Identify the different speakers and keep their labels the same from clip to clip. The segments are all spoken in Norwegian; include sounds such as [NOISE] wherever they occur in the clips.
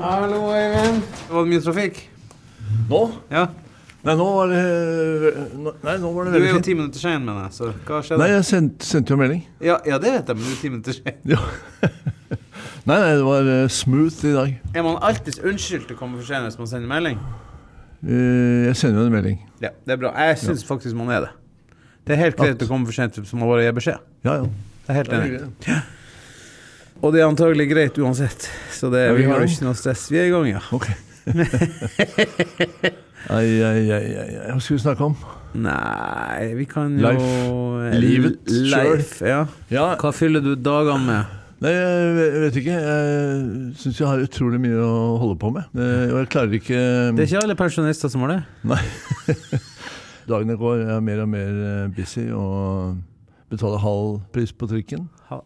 Speaker 1: Hallo, Øyvind. Var det mye trafikk?
Speaker 2: Nå?
Speaker 1: Ja.
Speaker 2: Nei, nå var det Nei, nå var
Speaker 1: Du er
Speaker 2: det veldig
Speaker 1: jo
Speaker 2: fint.
Speaker 1: ti minutter sein, mener jeg, så hva
Speaker 2: Nei,
Speaker 1: skjedde?
Speaker 2: jeg sendt, sendte jo melding.
Speaker 1: Ja, ja, det vet jeg, men du er ti minutter sein.
Speaker 2: Ja. Nei, nei, det var eh, smooth i dag.
Speaker 1: Er man alltids unnskyldt til å komme for sent hvis man sender melding?
Speaker 2: Eh, Jeg sender jo en melding.
Speaker 1: Ja, det er bra. Jeg syns faktisk man er det. Det er helt greit å komme for sent hvis man bare gir beskjed.
Speaker 2: Ja, ja.
Speaker 1: Det er helt enig. Og det er antagelig greit uansett, så det,
Speaker 2: Er vi
Speaker 1: vi
Speaker 2: i
Speaker 1: har
Speaker 2: gang?
Speaker 1: ikke noe stress. Vi er i gang, ja.
Speaker 2: Ok. [LAUGHS] Ai, ai, ai, ai, ai. Hva skal vi snakke om?
Speaker 1: Nei, vi kan jo
Speaker 2: Life. Livet selv.
Speaker 1: Life, ja.
Speaker 2: Ja,
Speaker 1: Hva fyller du dagene med?
Speaker 2: Nei, jeg ve- vet ikke. Jeg syns jeg har utrolig mye å holde på med. Eh, Og jeg klarer ikke
Speaker 1: Det er ikke alle pensjonister som har det.
Speaker 2: [LAUGHS] Dagene går, jeg er mer og mer eh, busy og betaler halv pris på trikken.
Speaker 1: Ha-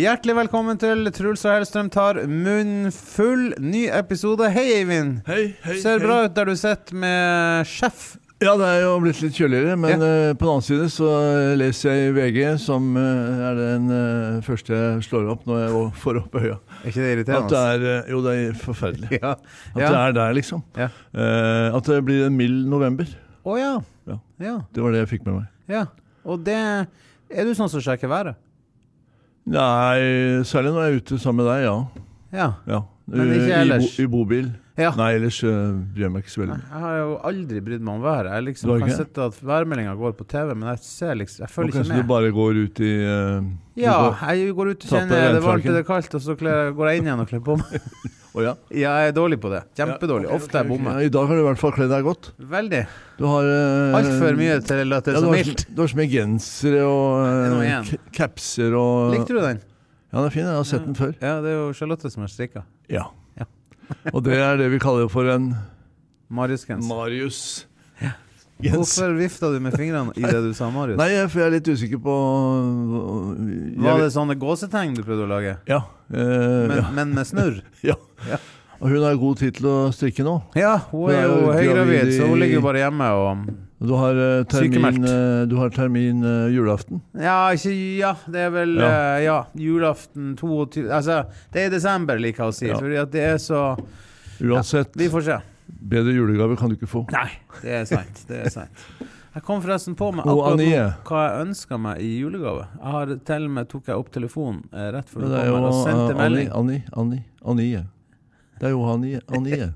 Speaker 1: Hjertelig velkommen til Truls og Hellstrøm tar munn full. Ny episode. Hei, Eivind.
Speaker 2: Hei, hei,
Speaker 1: Ser bra ut der du sitter med sjef.
Speaker 2: Ja, det er jo blitt litt kjøligere, men eh, på den annen side så eh, leser jeg i VG, som eh, er den eh, første jeg slår opp når jeg å- får opp øya.
Speaker 1: Er ikke det
Speaker 2: At det
Speaker 1: irriterende?
Speaker 2: er eh, Jo, det er forferdelig.
Speaker 1: Ja.
Speaker 2: At
Speaker 1: Ja.
Speaker 2: det er der, liksom.
Speaker 1: Ja.
Speaker 2: Eh, at det blir en mild november.
Speaker 1: Å ja.
Speaker 2: Ja.
Speaker 1: ja.
Speaker 2: Det var det jeg fikk med meg.
Speaker 1: Ja. Og det Er du sånn som sjekker været?
Speaker 2: Nei, særlig når jeg er ute sammen med deg, ja.
Speaker 1: Ja.
Speaker 2: ja. Eh,
Speaker 1: Men ikke
Speaker 2: I bo-
Speaker 1: ellers.
Speaker 2: I bobil.
Speaker 1: ja.
Speaker 2: Nei, ellers eh, bryr jeg meg ikke så
Speaker 1: Nei,
Speaker 2: veldig. mye.
Speaker 1: Jeg har jo aldri brydd meg om været. Jeg liksom
Speaker 2: Du har
Speaker 1: kan
Speaker 2: ikke det?
Speaker 1: sitte at værmeldinga går på TV, men jeg ser liksom Jeg følger
Speaker 2: Og Kanskje
Speaker 1: ikke
Speaker 2: du
Speaker 1: med.
Speaker 2: bare går ut i eh, du
Speaker 1: Ja,
Speaker 2: går-
Speaker 1: jeg går ut og
Speaker 2: Ta på deg
Speaker 1: kjenner det varmt
Speaker 2: regnfrakken.
Speaker 1: og det er kaldt, og så kler, går jeg inn igjen og kler på meg. [LAUGHS]
Speaker 2: Å, ja.
Speaker 1: Ja, jeg er dårlig på det. Kjempedårlig.
Speaker 2: Ja, ok,
Speaker 1: Ofte
Speaker 2: ok,
Speaker 1: jeg
Speaker 2: ok.
Speaker 1: bommer.
Speaker 2: Ja, I dag har du i hvert fall kledd deg godt.
Speaker 1: Veldig.
Speaker 2: Du har uh,
Speaker 1: Altfor mye til at det
Speaker 2: Ja,
Speaker 1: er
Speaker 2: det
Speaker 1: så
Speaker 2: var,
Speaker 1: mildt.
Speaker 2: det var så mye gensere
Speaker 1: Nei,
Speaker 2: og
Speaker 1: det er noe
Speaker 2: eh, k- capser og
Speaker 1: Likte du den?
Speaker 2: Ja, den er fin. Jeg har sett den før.
Speaker 1: Ja, det er jo Charlotte som har strikka.
Speaker 2: Ja.
Speaker 1: Ja.
Speaker 2: og det er det vi kaller for en
Speaker 1: Mariusgenser.
Speaker 2: Marius Jens.
Speaker 1: Hvorfor vifta du med fingrene i det du sa, Marius?
Speaker 2: Nei, jeg, for jeg er litt usikker på jeg,
Speaker 1: Var det sånne gåsetegn du prøvde å lage?
Speaker 2: Ja. eh,
Speaker 1: Men, men med snurr?
Speaker 2: ja.
Speaker 1: Ja.
Speaker 2: ja. Og hun har god tid til å strikke nå.
Speaker 1: Ja, hun er jo
Speaker 2: Hun er jo
Speaker 1: høygravid,
Speaker 2: gravid
Speaker 1: så hun
Speaker 2: i-
Speaker 1: ligger jo bare hjemme og
Speaker 2: Du har eh, termin,
Speaker 1: Sykemeldt.
Speaker 2: eh, du har termin eh, julaften.
Speaker 1: Ja, ikke Ja, det er vel
Speaker 2: Ja.
Speaker 1: eh, Ja, julaften 22 Altså, det er i desember, liker jeg å si,
Speaker 2: Ja.
Speaker 1: fordi at det er så
Speaker 2: Uansett,
Speaker 1: Vi får se.
Speaker 2: bedre julegave kan du ikke få.
Speaker 1: Nei, det er sant. Det er sant. Jeg kom forresten på meg
Speaker 2: Og
Speaker 1: akkurat nå
Speaker 2: Anie.
Speaker 1: hva jeg ønska meg i julegave. Jeg har til og med tok jeg opp telefonen eh, rett før du
Speaker 2: Men
Speaker 1: kom
Speaker 2: det er jo
Speaker 1: her og sendte
Speaker 2: eh, Annie,
Speaker 1: melding.
Speaker 2: Annie, Annie, Annie. Det er jo Annie,
Speaker 1: [LAUGHS]
Speaker 2: Annie.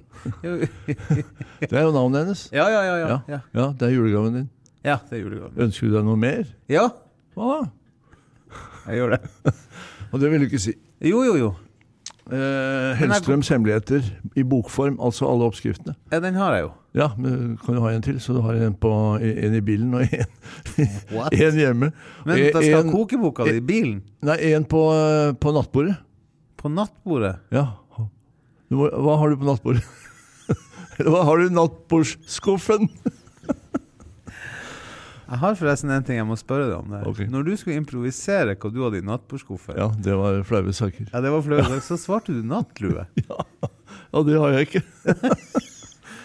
Speaker 2: Det er jo navnet hennes.
Speaker 1: Ja, ja, ja. Ja, ja.
Speaker 2: Ja, det er julegaven din.
Speaker 1: ja det er julegave.
Speaker 2: Ønsker du deg noe mer?
Speaker 1: Ja,
Speaker 2: Hva da?
Speaker 1: jeg gjør det.
Speaker 2: Og det vil du ikke si.
Speaker 1: Jo, jo, jo.
Speaker 2: Eh, Hellstrøms hemmeligheter i bokform, altså alle oppskriftene.
Speaker 1: Ja, den har jeg jo.
Speaker 2: Ja, men kan du ha en til, så du har en, på, en i bilen og [LAUGHS] en,
Speaker 1: What?
Speaker 2: en hjemme. Eh,
Speaker 1: Men da skal
Speaker 2: en-
Speaker 1: kokeboka di i bilen?
Speaker 2: Nei, en på, eh, på nattbordet.
Speaker 1: På nattbordet?
Speaker 2: Ja. Du må, hva har du på nattbordet? [LAUGHS] Eller hva har du i nattbordsskuffen?
Speaker 1: Jeg har forresten en ting jeg må spørre deg om. Der.
Speaker 2: Ok.
Speaker 1: Når du skulle improvisere hva du hadde i nattbordskuffen ja.
Speaker 2: Ja, det var flaue saker.
Speaker 1: det var flaut, så svarte du
Speaker 2: [LAUGHS]
Speaker 1: nattlue.
Speaker 2: Ja, det har jeg ikke.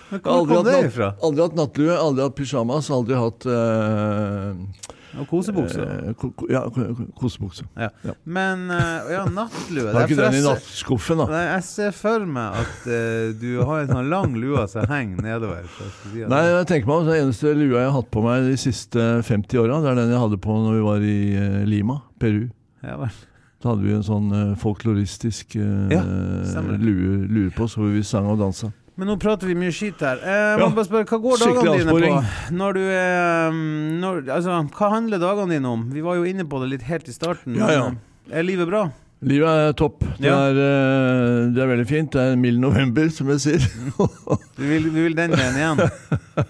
Speaker 1: Men hvor kom
Speaker 2: Aldri hatt,
Speaker 1: det
Speaker 2: natt,
Speaker 1: ifra?
Speaker 2: aldri hatt nattlue, aldri hatt pysjamas, aldri hatt eh,
Speaker 1: Og kosebukse.
Speaker 2: eh, ko- ko- ja, ko- ko- kosebukse.
Speaker 1: Ja.
Speaker 2: ja.
Speaker 1: Men eh, ja, nattlue
Speaker 2: Har
Speaker 1: det er
Speaker 2: ikke den i
Speaker 1: forresten-
Speaker 2: nattskuffen, da.
Speaker 1: Nei, jeg ser for meg at eh, du har en sånn lang lue som henger nedover. så jeg skal si at-
Speaker 2: Nei, jeg tenker meg om, Den eneste lua jeg har hatt på meg de siste 50 åra, det er den jeg hadde på når vi var i eh, Lima, Peru.
Speaker 1: Ja, vel.
Speaker 2: Da hadde vi en sånn eh, folkloristisk eh,
Speaker 1: Ja, stemmer.
Speaker 2: lue, lue på, så vi sang og dansa.
Speaker 1: Men nå prater vi mye skit her. Eh, jeg må
Speaker 2: Ja.
Speaker 1: bare spørre, Hva går
Speaker 2: Skikkelig
Speaker 1: dagene dine
Speaker 2: avsporing.
Speaker 1: på? Når du er, mm, når, altså, hva handler dagene dine om? Vi var jo inne på det litt helt i starten.
Speaker 2: Ja, ja.
Speaker 1: men, eh, Er livet bra?
Speaker 2: Livet er topp. Det,
Speaker 1: Ja.
Speaker 2: er, eh, det er veldig fint. Det er en mild november, som jeg sier.
Speaker 1: Du vil, du vil den veien igjen?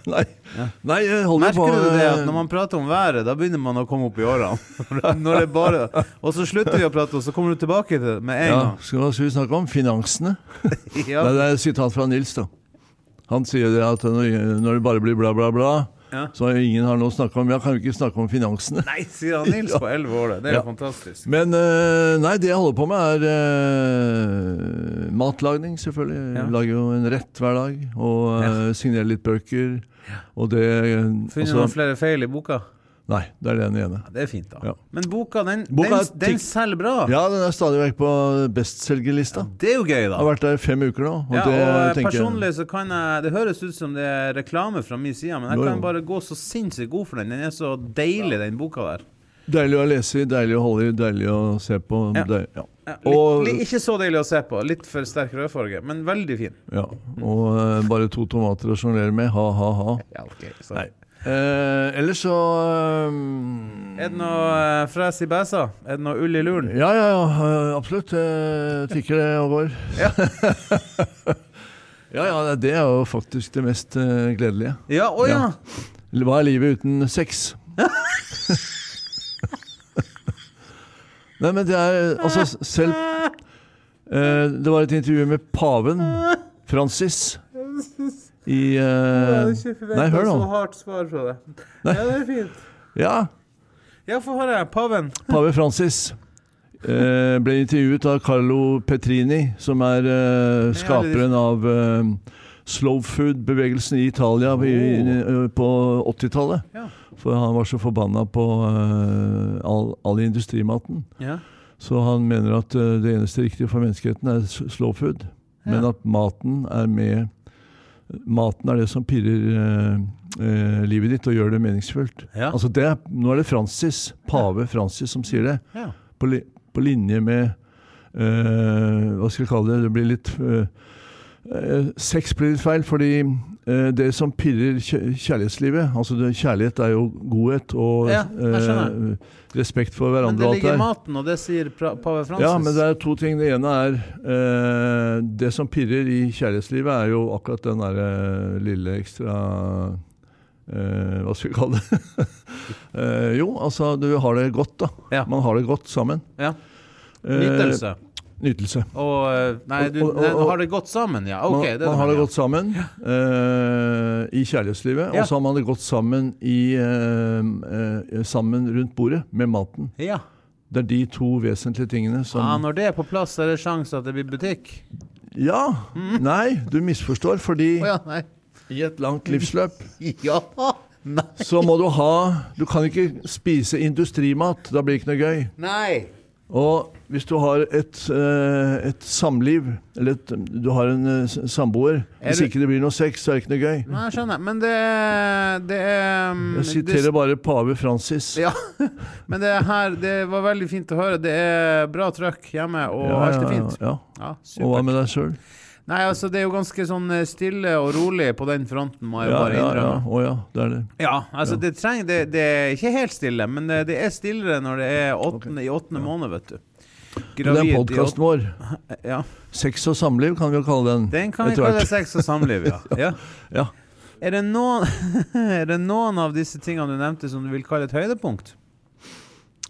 Speaker 2: Nei,
Speaker 1: Ja.
Speaker 2: Nei jeg holder
Speaker 1: [LAUGHS]
Speaker 2: på
Speaker 1: Merker du det at
Speaker 2: eh,
Speaker 1: når man prater om været, da begynner man å komme opp i årene? [LAUGHS] Når det bare, og så slutter vi å prate, og så kommer du tilbake til det med en
Speaker 2: ja, skal, hva skal vi snakke om? Finansene?
Speaker 1: gang. [LAUGHS] Ja.
Speaker 2: Nei, det er et sitat fra Nils, da. Han sier det at når, når det bare blir bla, bla, bla,
Speaker 1: Ja.
Speaker 2: Så ingen har noe å snakke om. Jeg kan jo ikke snakke om finansene.
Speaker 1: Nei, sier han Nils på 11 år. Det er jo fantastisk.
Speaker 2: Men eh, nei, det jeg holder på med, er eh, matlagning, selvfølgelig.
Speaker 1: Ja.
Speaker 2: Jeg lager jo en rett hver dag. Og eh, signerer litt bøker. Og det
Speaker 1: Finner du
Speaker 2: altså-
Speaker 1: noen flere feil i boka?
Speaker 2: Nei, det er den ene.
Speaker 1: Ja, det er fint, da.
Speaker 2: Ja.
Speaker 1: Men boka, den,
Speaker 2: Boka
Speaker 1: den,
Speaker 2: er
Speaker 1: den
Speaker 2: tikk-
Speaker 1: selger bra.
Speaker 2: Ja, den er stadig vekk på bestselgerlista.
Speaker 1: Det er jo gøy,
Speaker 2: Jeg har
Speaker 1: da.
Speaker 2: vært der i fem uker nå. Og
Speaker 1: Ja,
Speaker 2: det
Speaker 1: og
Speaker 2: tenker
Speaker 1: personlig så kan jeg Det høres ut som det er reklame fra min side, men jeg
Speaker 2: Jo, jo.
Speaker 1: kan bare gå så sinnssykt god for den. Den er så deilig, den boka der.
Speaker 2: jeg Deilig å lese i, deilig å holde i, deilig å se på.
Speaker 1: Ja.
Speaker 2: Deil, ja.
Speaker 1: Ja, litt,
Speaker 2: Og-
Speaker 1: li- ikke så deilig å se på. Litt for sterk rødfarge, men veldig fin.
Speaker 2: Ja. Og eh, bare to tomater å sjonglere med. Ha, ha, ha.
Speaker 1: Ja, ok, så.
Speaker 2: Nei. Eh, ellers så eh,
Speaker 1: Er det noe eh, fres i bæsa? Er det noe ull i luren?
Speaker 2: Ja, ja, ja, eh, absolutt. Eh, Tikker det og går.
Speaker 1: Ja.
Speaker 2: [LAUGHS] ja, ja, det er jo faktisk det mest eh, gledelige.
Speaker 1: Ja, å ja!
Speaker 2: Ja. Hva er livet uten sex? Nei, men det er Altså, selv eh, Det var et intervju med paven, Francis, i eh, Nei, hør nå.
Speaker 1: hardt svar fra deg. Ja, det er fint.
Speaker 2: Ja,
Speaker 1: Ja, få høre. Paven.
Speaker 2: pave Francis. Eh, ble intervjuet av Carlo Petrini, som er eh, skaperen av eh, slow food-bevegelsen i Italia i,
Speaker 1: Oh.
Speaker 2: eh, på 80-tallet.
Speaker 1: Ja.
Speaker 2: For han var så forbanna på eh, all, all industrimaten.
Speaker 1: Ja.
Speaker 2: Så han mener at eh, det eneste riktige for menneskeheten er s- slow food.
Speaker 1: Ja.
Speaker 2: Men at maten er med Maten er det som pirrer eh, eh, livet ditt og gjør det meningsfullt.
Speaker 1: Ja.
Speaker 2: Altså det, er- nå er det Francis, pave Francis som sier det.
Speaker 1: ja.
Speaker 2: På, li, på linje med eh, Hva skal jeg kalle det? Det blir litt eh, eh, Sex blir litt feil, fordi eh, det som pirrer kjæ- kjærlighetslivet Altså det, kjærlighet er jo godhet og
Speaker 1: Ja, jeg skjønner.
Speaker 2: eh, respekt for
Speaker 1: Men det
Speaker 2: hverandre og alt
Speaker 1: ligger i
Speaker 2: der.
Speaker 1: maten, og det sier pra- pave Francis.
Speaker 2: Ja, men det er to ting. Det ene er eh, Det som pirrer i kjærlighetslivet, er jo akkurat den derre lille ekstra eh, Hva skal vi kalle det? [LAUGHS] Eh, jo, altså du har det godt, da.
Speaker 1: Ja.
Speaker 2: Man har det godt sammen.
Speaker 1: Ja.
Speaker 2: Eh,
Speaker 1: Nytelse.
Speaker 2: nytelse.
Speaker 1: Og eh, Nei, du
Speaker 2: og- og-
Speaker 1: nei, har det godt sammen, ja. Ok, det
Speaker 2: man man har
Speaker 1: mener
Speaker 2: det
Speaker 1: jeg.
Speaker 2: godt sammen eh, i kjærlighetslivet,
Speaker 1: Ja.
Speaker 2: og så har man det godt sammen, i, eh, eh, sammen rundt bordet med maten.
Speaker 1: Ja.
Speaker 2: Det er de to vesentlige tingene som
Speaker 1: ja, når det er på plass, er det sjanse at det blir butikk.
Speaker 2: Ja! Nei, du misforstår, fordi
Speaker 1: Mm. Å ja,
Speaker 2: [LAUGHS]
Speaker 1: nei.
Speaker 2: I et langt livsløp.
Speaker 1: Ja! Nei.
Speaker 2: Så må du ha Du kan ikke spise industrimat. Da blir det ikke noe gøy.
Speaker 1: nei.
Speaker 2: Og hvis du har et, eh, et samliv, eller et, du har en eh, s- samboer
Speaker 1: Er
Speaker 2: Hvis
Speaker 1: du-
Speaker 2: ikke det blir noe sex, så er det ikke noe gøy.
Speaker 1: Nei, jeg skjønner. Men det Det er um,
Speaker 2: Jeg
Speaker 1: det-
Speaker 2: siterer bare pave Francis.
Speaker 1: [LAUGHS] Ja. Men det her Det var veldig fint å høre. Det er bra trøkk hjemme, og
Speaker 2: Ja,
Speaker 1: alt er
Speaker 2: ja,
Speaker 1: fint.
Speaker 2: Ja.
Speaker 1: Ja,
Speaker 2: Og hva
Speaker 1: supert.
Speaker 2: med deg sjøl?
Speaker 1: Nei, altså, det er jo ganske sånn eh, stille og rolig på den fronten, må jeg
Speaker 2: Ja,
Speaker 1: bare
Speaker 2: ja, ja.
Speaker 1: innrømme.
Speaker 2: Å ja, det er det.
Speaker 1: Ja, altså det, treng, det, det er ikke helt stille, men det, det er stillere når det er åttende, i åttende måned, vet du.
Speaker 2: Den
Speaker 1: i
Speaker 2: podkasten vår,
Speaker 1: åttende- Ja,
Speaker 2: Sex og samliv, kan vi jo kalle den.
Speaker 1: Den kan vi
Speaker 2: etter hvert.
Speaker 1: kalle sex og samliv, ja. ja.
Speaker 2: [LAUGHS] Ja.
Speaker 1: Er, det noen, [LAUGHS] er det noen av disse tingene du nevnte som du vil kalle et høydepunkt?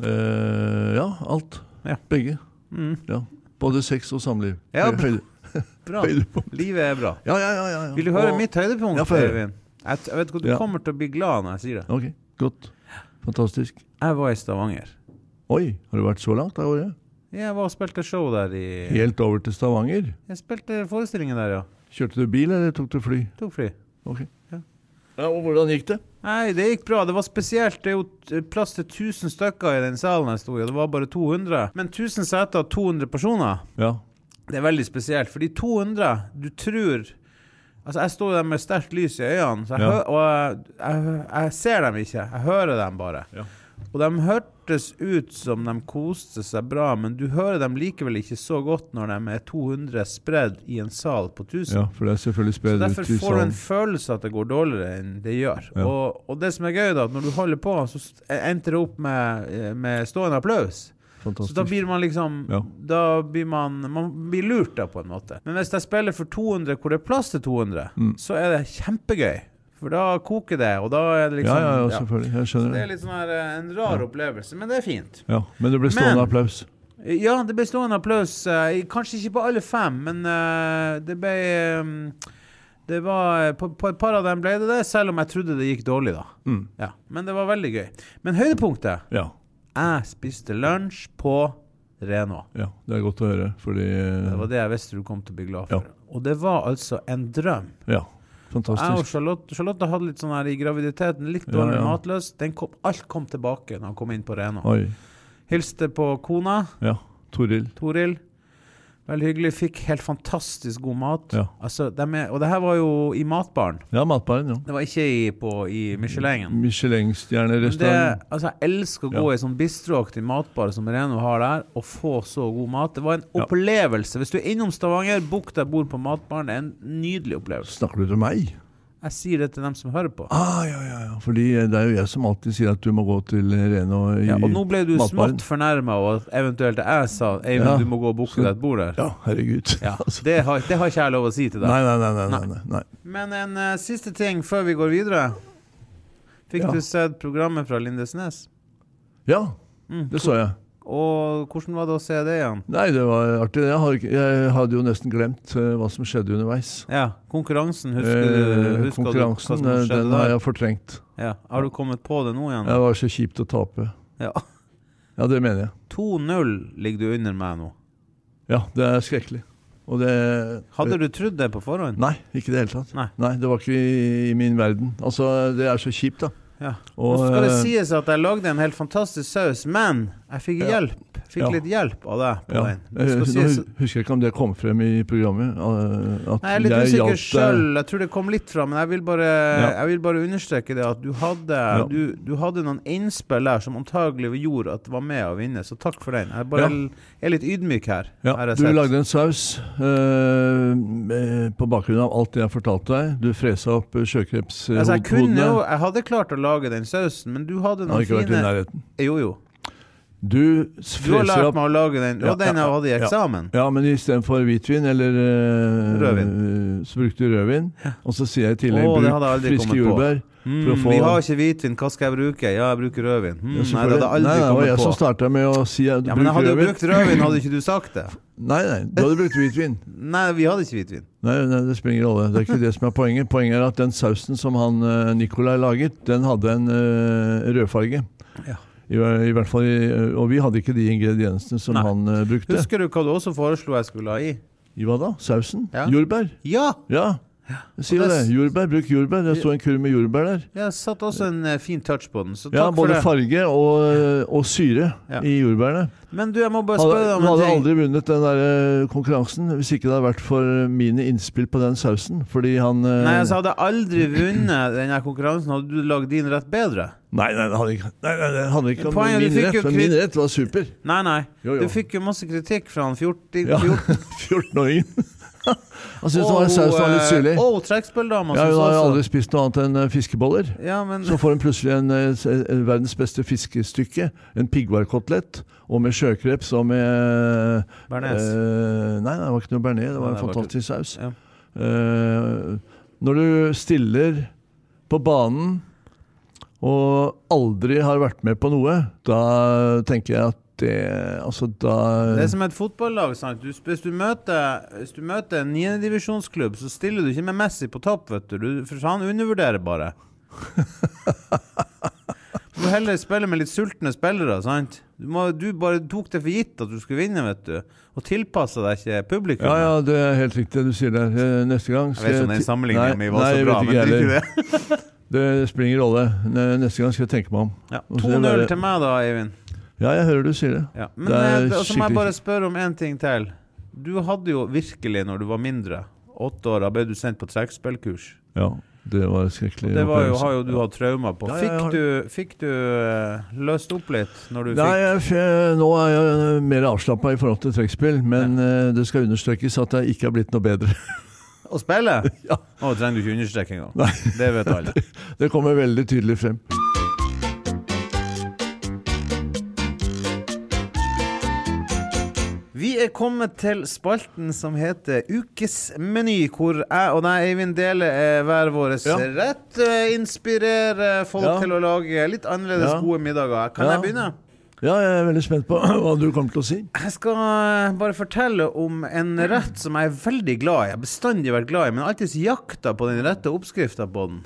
Speaker 2: Eh, ja, alt.
Speaker 1: Ja.
Speaker 2: Begge.
Speaker 1: Mm.
Speaker 2: Ja. Både sex og samliv. [LAUGHS]
Speaker 1: Ja,
Speaker 2: Høy-
Speaker 1: Bra.
Speaker 2: høydepunkt.
Speaker 1: Livet er bra.
Speaker 2: Ja, ja, ja, ja, ja.
Speaker 1: Vil du høre
Speaker 2: Og-
Speaker 1: mitt høydepunkt,
Speaker 2: Ja, få høre.
Speaker 1: Øyvind? Jeg, t- jeg vet ikke, Du
Speaker 2: Ja.
Speaker 1: kommer til å bli glad når jeg sier det.
Speaker 2: Ok, godt. Fantastisk.
Speaker 1: Jeg var i Stavanger.
Speaker 2: Oi, har du vært så langt av året?
Speaker 1: Jeg var og spilte show der i
Speaker 2: Helt over til Stavanger?
Speaker 1: Jeg spilte forestillingen der, ja.
Speaker 2: Kjørte du bil, eller tok du fly?
Speaker 1: Tok fly.
Speaker 2: Ok.
Speaker 1: Ja.
Speaker 2: Ja, og hvordan gikk det?
Speaker 1: Nei, det gikk bra. Det var spesielt. Det er jo t- plass til 1000 stykker i den salen jeg sto i, og det var bare 200. Men 1000 seter og 200 personer,
Speaker 2: Ja.
Speaker 1: det er veldig spesielt. Fordi 200, du tror Altså, jeg sto der med sterkt lys i øynene, så jeg
Speaker 2: Ja.
Speaker 1: hø og jeg, jeg, jeg ser dem ikke. Jeg hører dem bare.
Speaker 2: Ja.
Speaker 1: Og de hørtes ut som de koste seg bra, men du hører dem likevel ikke så godt når de er 200 spredd i en sal på 1000.
Speaker 2: ja, for det er selvfølgelig
Speaker 1: Så
Speaker 2: spredt ut
Speaker 1: Derfor
Speaker 2: i
Speaker 1: får du en
Speaker 2: salen.
Speaker 1: følelse at det går dårligere enn det gjør.
Speaker 2: Ja.
Speaker 1: Og, og det som er gøy, da, at når du holder på, så st- endte det opp med, eh, med stående applaus. Så da
Speaker 2: Fantastisk.
Speaker 1: blir man liksom
Speaker 2: Ja.
Speaker 1: Da blir man Man blir lurt, da, på en måte. Men hvis jeg spiller for 200 hvor det er plass til 200,
Speaker 2: Mm.
Speaker 1: så er det kjempegøy. For da koker det, og da er det
Speaker 2: Ja,
Speaker 1: liksom
Speaker 2: ja, ja,
Speaker 1: ja.
Speaker 2: selvfølgelig. Jeg
Speaker 1: Så Det
Speaker 2: skjønner
Speaker 1: er
Speaker 2: det.
Speaker 1: litt sånn her, eh, en rar opplevelse, men det er fint.
Speaker 2: Ja, Men det ble stående
Speaker 1: Men-
Speaker 2: applaus.
Speaker 1: Ja, det ble stående applaus. eh, i- Kanskje ikke på alle fem, men eh, det ble eh, Det var, på, på et par av dem ble det det, selv om jeg trodde det gikk dårlig, da.
Speaker 2: Mm.
Speaker 1: Ja, men det var veldig gøy. Men høydepunktet
Speaker 2: Ja.
Speaker 1: Jeg spiste lunsj på Rena.
Speaker 2: ja. Det er godt å høre, fordi
Speaker 1: Det var det jeg visste du kom til å bli glad for.
Speaker 2: Mm. Ja.
Speaker 1: Og det var altså en drøm.
Speaker 2: Ja.
Speaker 1: Jeg og
Speaker 2: Fantastisk.
Speaker 1: Charlotte, Charlotte hadde litt sånn her i graviditeten, litt dårlig
Speaker 2: Ja, ja.
Speaker 1: matlyst. Den kom, alt kom tilbake når han kom inn på Rena.
Speaker 2: Oi.
Speaker 1: Hilste på kona,
Speaker 2: Ja. Toril.
Speaker 1: Toril. Veldig hyggelig. Fikk helt fantastisk god mat.
Speaker 2: Ja.
Speaker 1: Altså, dem er, og det her var jo i matbaren.
Speaker 2: Ja, matbaren, ja.
Speaker 1: Det var ikke i, på, i
Speaker 2: Mm,
Speaker 1: Michelin-en. Men Det,
Speaker 2: Michelin-stjernerestaurant.
Speaker 1: altså, jeg elsker å gå i sånn bistroaktig matbar som Reno har der, og få så god mat. Det var en
Speaker 2: Ja.
Speaker 1: opplevelse. Hvis du er innom Stavanger, bukk deg bord på matbaren. Det er en nydelig opplevelse.
Speaker 2: Snakker du til meg?
Speaker 1: Jeg sier det til dem som hører på.
Speaker 2: Ah, ja, ja, ja. Fordi det er jo jeg som alltid sier at du må gå til Reno i
Speaker 1: Ja, og nå ble du
Speaker 2: matbaren.
Speaker 1: smått fornærma, og at eventuelt jeg sa Eivind,
Speaker 2: Ja.
Speaker 1: du må gå og booke deg et bord der.
Speaker 2: Ja, herregud.
Speaker 1: Ja,
Speaker 2: [LAUGHS] Altså,
Speaker 1: det, har, det har ikke jeg lov å si til deg.
Speaker 2: nei, nei, nei, nei, nei, nei, nei.
Speaker 1: Men en eh, siste ting før vi går videre. Fikk
Speaker 2: Ja.
Speaker 1: du sett programmet fra Lindesnes?
Speaker 2: Ja,
Speaker 1: Mm.
Speaker 2: det så jeg.
Speaker 1: Og hvordan var det å se det igjen?
Speaker 2: Nei, det var artig. Jeg, har, ikke- jeg hadde jo nesten glemt eh, hva som skjedde underveis.
Speaker 1: Ja, konkurransen, husker du?
Speaker 2: Eh,
Speaker 1: Husker du
Speaker 2: konkurransen
Speaker 1: hva som
Speaker 2: eh,
Speaker 1: skjedde
Speaker 2: den har
Speaker 1: der?
Speaker 2: jeg fortrengt.
Speaker 1: Ja. Har du kommet på det nå igjen?
Speaker 2: Det var så kjipt å tape.
Speaker 1: Ja. [LAUGHS]
Speaker 2: Ja, det mener jeg.
Speaker 1: 2-0 ligger du under meg nå.
Speaker 2: Ja, det er skrekkelig. Og det
Speaker 1: Hadde du trodd det på forhånd?
Speaker 2: Nei, ikke i det hele tatt.
Speaker 1: Nei.
Speaker 2: det var ikke i, i min verden. Altså, det er så kjipt, da.
Speaker 1: Ja.
Speaker 2: Og,
Speaker 1: Nå skal det
Speaker 2: eh,
Speaker 1: sies at jeg lagde en helt fantastisk saus, men jeg fikk
Speaker 2: Ja.
Speaker 1: hjelp. Fikk
Speaker 2: Ja.
Speaker 1: litt hjelp av deg på
Speaker 2: ja.
Speaker 1: den. Det
Speaker 2: Jeg,
Speaker 1: skal
Speaker 2: nå
Speaker 1: sies-
Speaker 2: hu- husker jeg ikke om det kom frem i programmet. eh, At
Speaker 1: Nei, jeg er litt
Speaker 2: hjalp
Speaker 1: usikker
Speaker 2: deg.
Speaker 1: sjøl. Jeg tror det kom litt fra, men jeg vil bare,
Speaker 2: eh, Ja.
Speaker 1: jeg vil bare understreke det at du hadde, du, du hadde noen innspill der som antagelig gjorde at det var med å vinne, så takk for den. Jeg bare
Speaker 2: Ja.
Speaker 1: er litt ydmyk her. har
Speaker 2: Ja,
Speaker 1: jeg
Speaker 2: du
Speaker 1: sett.
Speaker 2: lagde en saus eh, med- på bakgrunn av alt det jeg fortalte deg. Du fresa opp eh, sjøkrepshodene.
Speaker 1: Altså, jeg, kunne jo, jeg hadde klart å lage den sausen, men du hadde
Speaker 2: Jeg har
Speaker 1: noen
Speaker 2: ikke vært i
Speaker 1: fine
Speaker 2: nærheten.
Speaker 1: Jo, jo.
Speaker 2: Du
Speaker 1: Du har
Speaker 2: freser
Speaker 1: lært
Speaker 2: opp
Speaker 1: meg å lage den,
Speaker 2: Ja,
Speaker 1: og den
Speaker 2: ja,
Speaker 1: jeg hadde i
Speaker 2: ja.
Speaker 1: eksamen.
Speaker 2: Ja, men istedenfor hvitvin eller eh,
Speaker 1: Rødvin.
Speaker 2: eh, Så brukte du rødvin. Og så sier jeg i tillegg
Speaker 1: Å, det hadde jeg
Speaker 2: bruk
Speaker 1: aldri kommet
Speaker 2: friske
Speaker 1: på.
Speaker 2: jordbær.
Speaker 1: Mm,
Speaker 2: For å få-
Speaker 1: vi har ikke hvitvin, hva skal jeg bruke? Ja, jeg bruker rødvin. Mm, nei,
Speaker 2: Ja,
Speaker 1: det hadde
Speaker 2: selvfølgelig. nei,
Speaker 1: aldri
Speaker 2: det var jeg
Speaker 1: kommet
Speaker 2: som
Speaker 1: på.
Speaker 2: starta med å si at du
Speaker 1: Ja, men jeg
Speaker 2: bruker
Speaker 1: hadde jo
Speaker 2: rødvin.
Speaker 1: brukt rødvin, hadde ikke du sagt det?
Speaker 2: Nei, nei, du hadde brukt hvitvin.
Speaker 1: Nei, vi hadde ikke hvitvin.
Speaker 2: Nei, nei, det spiller ingen rolle. Det er ikke det som er poenget. Poenget er at den sausen som han eh, Nicolai laget, den hadde en eh, rødfarge.
Speaker 1: Ja.
Speaker 2: I, hver- I hvert fall, i, Og vi hadde ikke de ingrediensene som
Speaker 1: Nei.
Speaker 2: han eh, brukte.
Speaker 1: Husker du hva du også foreslo jeg skulle ha i?
Speaker 2: I hva da? Sausen?
Speaker 1: Ja.
Speaker 2: Jordbær?
Speaker 1: Ja!
Speaker 2: Ja. Jeg sier jo
Speaker 1: Og
Speaker 2: det.
Speaker 1: det-
Speaker 2: Jordbær, Bruk jordbær. Det sto en kurv med jordbær der.
Speaker 1: Jeg satt også en eh, fin touch på den, så takk
Speaker 2: Ja,
Speaker 1: for
Speaker 2: Både
Speaker 1: det.
Speaker 2: farge og, eh, og syre
Speaker 1: Ja.
Speaker 2: i jordbærene.
Speaker 1: Men du, jeg må bare
Speaker 2: Hadde,
Speaker 1: spørre
Speaker 2: hun
Speaker 1: deg om
Speaker 2: hadde
Speaker 1: en ting.
Speaker 2: aldri vunnet den der eh, konkurransen hvis ikke det hadde vært for eh, mine innspill på den sausen. Fordi han eh,
Speaker 1: Nei, altså hadde jeg aldri vunnet denne konkurransen, hadde du lagd din rett bedre?
Speaker 2: Nei, nei, det handler ikke, nei, nei, det handler ikke om
Speaker 1: Poenget, du
Speaker 2: min
Speaker 1: fikk
Speaker 2: rett,
Speaker 1: jo
Speaker 2: men
Speaker 1: kvitt-
Speaker 2: min rett var super.
Speaker 1: Nei, nei.
Speaker 2: Jo, jo.
Speaker 1: Du fikk jo masse kritikk fra han 14...
Speaker 2: Ja.
Speaker 1: 14
Speaker 2: [LAUGHS] 14-åringen. Han syntes Altså, det var sausen var litt syrlig.
Speaker 1: Og hun trekkspilldama
Speaker 2: Ja,
Speaker 1: syntes
Speaker 2: hun har jo
Speaker 1: også-
Speaker 2: aldri spist noe annet enn eh, fiskeboller.
Speaker 1: Ja, men
Speaker 2: Så får hun plutselig en, eh, s- en verdens beste fiskestykke, en piggvarkotelett, og med sjøkreps og med eh,
Speaker 1: Bernes.
Speaker 2: eh, nei, nei, det var ikke noe bearnés, det var
Speaker 1: Nei,
Speaker 2: en
Speaker 1: det var
Speaker 2: fantastisk saus.
Speaker 1: Ja.
Speaker 2: Eh, når du stiller på banen og aldri har vært med på noe, da tenker jeg at det Altså, da
Speaker 1: Det er som et fotballag. sant? Du, hvis du møter, hvis du møter en niendedivisjonsklubb, så stiller du ikke med Messi på topp, vet du. du for han undervurderer
Speaker 2: [LAUGHS]
Speaker 1: bare. Du må heller spille med litt sultne spillere, sant? Du, må, du bare tok det for gitt at du skulle vinne, vet du. Og tilpassa deg ikke publikum.
Speaker 2: Ja, ja, det er helt riktig det du sier der. Eh, Neste gang
Speaker 1: Jeg vet ikke om den
Speaker 2: ti-
Speaker 1: sammenligninga
Speaker 2: Nei,
Speaker 1: mi var
Speaker 2: nei,
Speaker 1: så
Speaker 2: jeg
Speaker 1: bra,
Speaker 2: vet
Speaker 1: men
Speaker 2: ikke
Speaker 1: det er
Speaker 2: heller.
Speaker 1: ikke det.
Speaker 2: Det spiller ingen rolle. Ne- Neste gang skal jeg tenke meg om.
Speaker 1: [LAUGHS] Ja,
Speaker 2: Og så er
Speaker 1: 2-0
Speaker 2: det bare-
Speaker 1: til meg, da, Eivind.
Speaker 2: Ja, jeg hører du sier det.
Speaker 1: Ja. Men
Speaker 2: Det er
Speaker 1: eh, så må jeg
Speaker 2: skikkelig-
Speaker 1: bare spørre om én ting til. Du hadde jo virkelig, når du var mindre, åtte år, da ble du sendt på trekkspillkurs.
Speaker 2: Ja, det var en skrekkelig.
Speaker 1: Det var jo,
Speaker 2: opplevelse.
Speaker 1: har jo du hatt traumer på.
Speaker 2: Ja, ja, jeg
Speaker 1: Fikk
Speaker 2: har-
Speaker 1: du, fikk du eh, løst opp litt når du
Speaker 2: Nei,
Speaker 1: fikk
Speaker 2: jeg, f- nå er jeg eh, mer avslappa i forhold til trekkspill, men eh, det skal understrekes at jeg ikke har blitt noe bedre. [LAUGHS]
Speaker 1: å spille?
Speaker 2: Ja.
Speaker 1: Nå trenger du ikke understreke engang.
Speaker 2: Nei.
Speaker 1: [LAUGHS] Det vet
Speaker 2: [LAUGHS]
Speaker 1: alle.
Speaker 2: Det kommer veldig tydelig frem.
Speaker 1: Vi er kommet til spalten som heter Ukesmeny, hvor jeg og deg, Eivind, deler eh, hver vår
Speaker 2: Ja.
Speaker 1: rett. eh, Inspirerer folk
Speaker 2: Ja.
Speaker 1: til å lage litt annerledes
Speaker 2: Ja.
Speaker 1: gode middager. Kan
Speaker 2: Ja.
Speaker 1: jeg begynne?
Speaker 2: Ja, jeg er veldig spent på [CLEARS THROAT] hva du kommer til å si.
Speaker 1: Jeg skal eh, bare fortelle om en rett som jeg er veldig glad i. Jeg har bestandig vært glad i, men alltids jakta på den rette oppskrifta på den.